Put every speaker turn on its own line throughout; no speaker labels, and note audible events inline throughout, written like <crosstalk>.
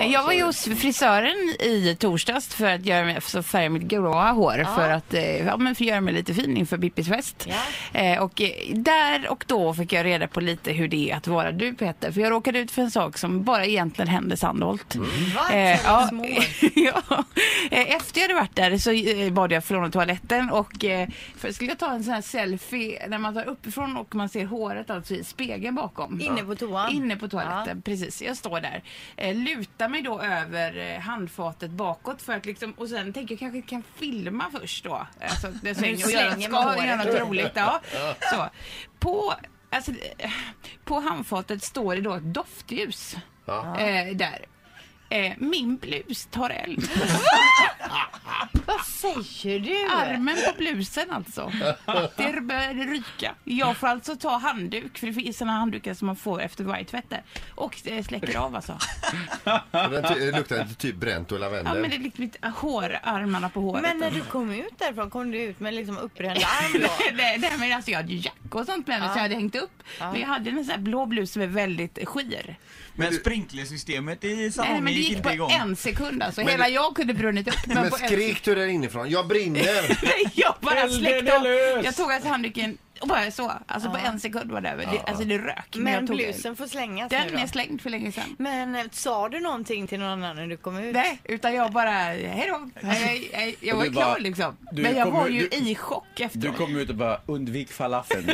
Eh, Jag var ju hos frisören i torsdags för att göra mig, så färga mitt gråa hår för att eh, ja, men för att göra mig lite fin inför Bippis fest. Eh, och eh, där och då fick jag reda på lite hur det är att vara du Peter. För jag råkade ut för en sak som bara egentligen hände Sandholt.
Mm.
Eh,
Va?
ja, <laughs> ja. Eh, Efter jag hade varit där så eh, bad jag förlåna toaletten och eh, för skulle jag ta en sån här selfie när man tar uppifrån och man ser håret alltså i spegeln bakom.
Inne på toan.
Inne på toaletten, precis. Jag står där. Eh, lutar mig då över eh, handfatet bakåt för att liksom, och sen tänker jag kanske kan filma först då.
<laughs>
Alltså, det slänger, och göra
slänger man
ska,
håret
göra något
då.
roligt.
<laughs>
Ja. Så. På, alltså, eh, på handfatet står det då ett doftljus. Eh, där. Eh, min blus tar eld.
<laughs> Vad säger du?
Armen på blusen alltså. Det började ryka. Jag får alltså ta handduk, för det finns såna handdukar som man får efter varje tvätt där. Och eh, släcker av alltså.
Den ty- luktar typ bränt och
Ja
lavendel.
men det är liksom mitt hår, armarna på håret. <laughs>
Men eh, när du kom ut därifrån, kom du ut med liksom uppbränd arm då?
Nej, nej, men alltså jag hade ju jacka och sånt med mig så jag hade hängt upp. Men jag hade en sån här blå blus som är väldigt eh, skir.
Men sprinklersystemet i
Nej,
salongen
men det
gick
gick på
inte igång.
en sekund alltså. Hela jag kunde brunnit upp. Men,
Men
på en
skrek du där inifrån? Jag
<laughs>
brinner!
Nej, jag bara
Elden
släckte
är
av.
lös.
Jag tog alltså handduken och bara så. Alltså på en sekund var det över. Det, alltså det rök. när
Men
jag tog den.
blusen får slängas nu
Den
då.
är slängd för länge sedan.
Men eh, sa du någonting till någon annan när du kom ut?
Nej, utan jag bara, hej då. Hej, hej, hej. Jag var
Du
ju
bara-
klar liksom.
du
Men jag
kom
var
ju-
ju
du-
i chock
Du
efteråt.
kom ut och bara undvik falafeln.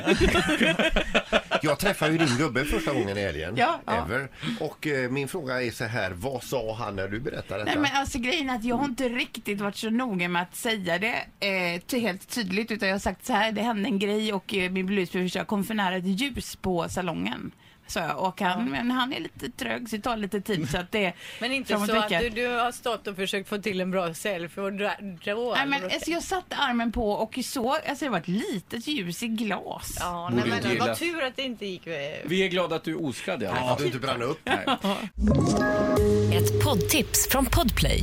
Jag träffade ju din gubbe första gången i helgen.
Ja, ja.
Ever. Och eh, min fråga är så här, vad sa han när du
Nej
berättade detta?
men alltså grejen är att jag har inte riktigt varit så noga med att säga det eh, ty- helt tydligt utan jag har sagt så här, det hände en grej och eh, min blus kom för nära ett ljus på salongen. Så jag, och han, men han är lite trög så det tar lite tid så att det är
<laughs> Men inte
fram och
så att
tillbaka.
du, du har stått och försökt få till en bra selfie och dra, dra
Nej, men, alltså, jag satte armen på och så, alltså det var ett litet ljus i glas.
Ja,
Borde
nej, men
inte
det var
gilla.
tur att det inte gick. eh,
Vi är glada att du är oskadd i alla
Att
fall.
du inte brann upp?
Ett poddtips från Podplay.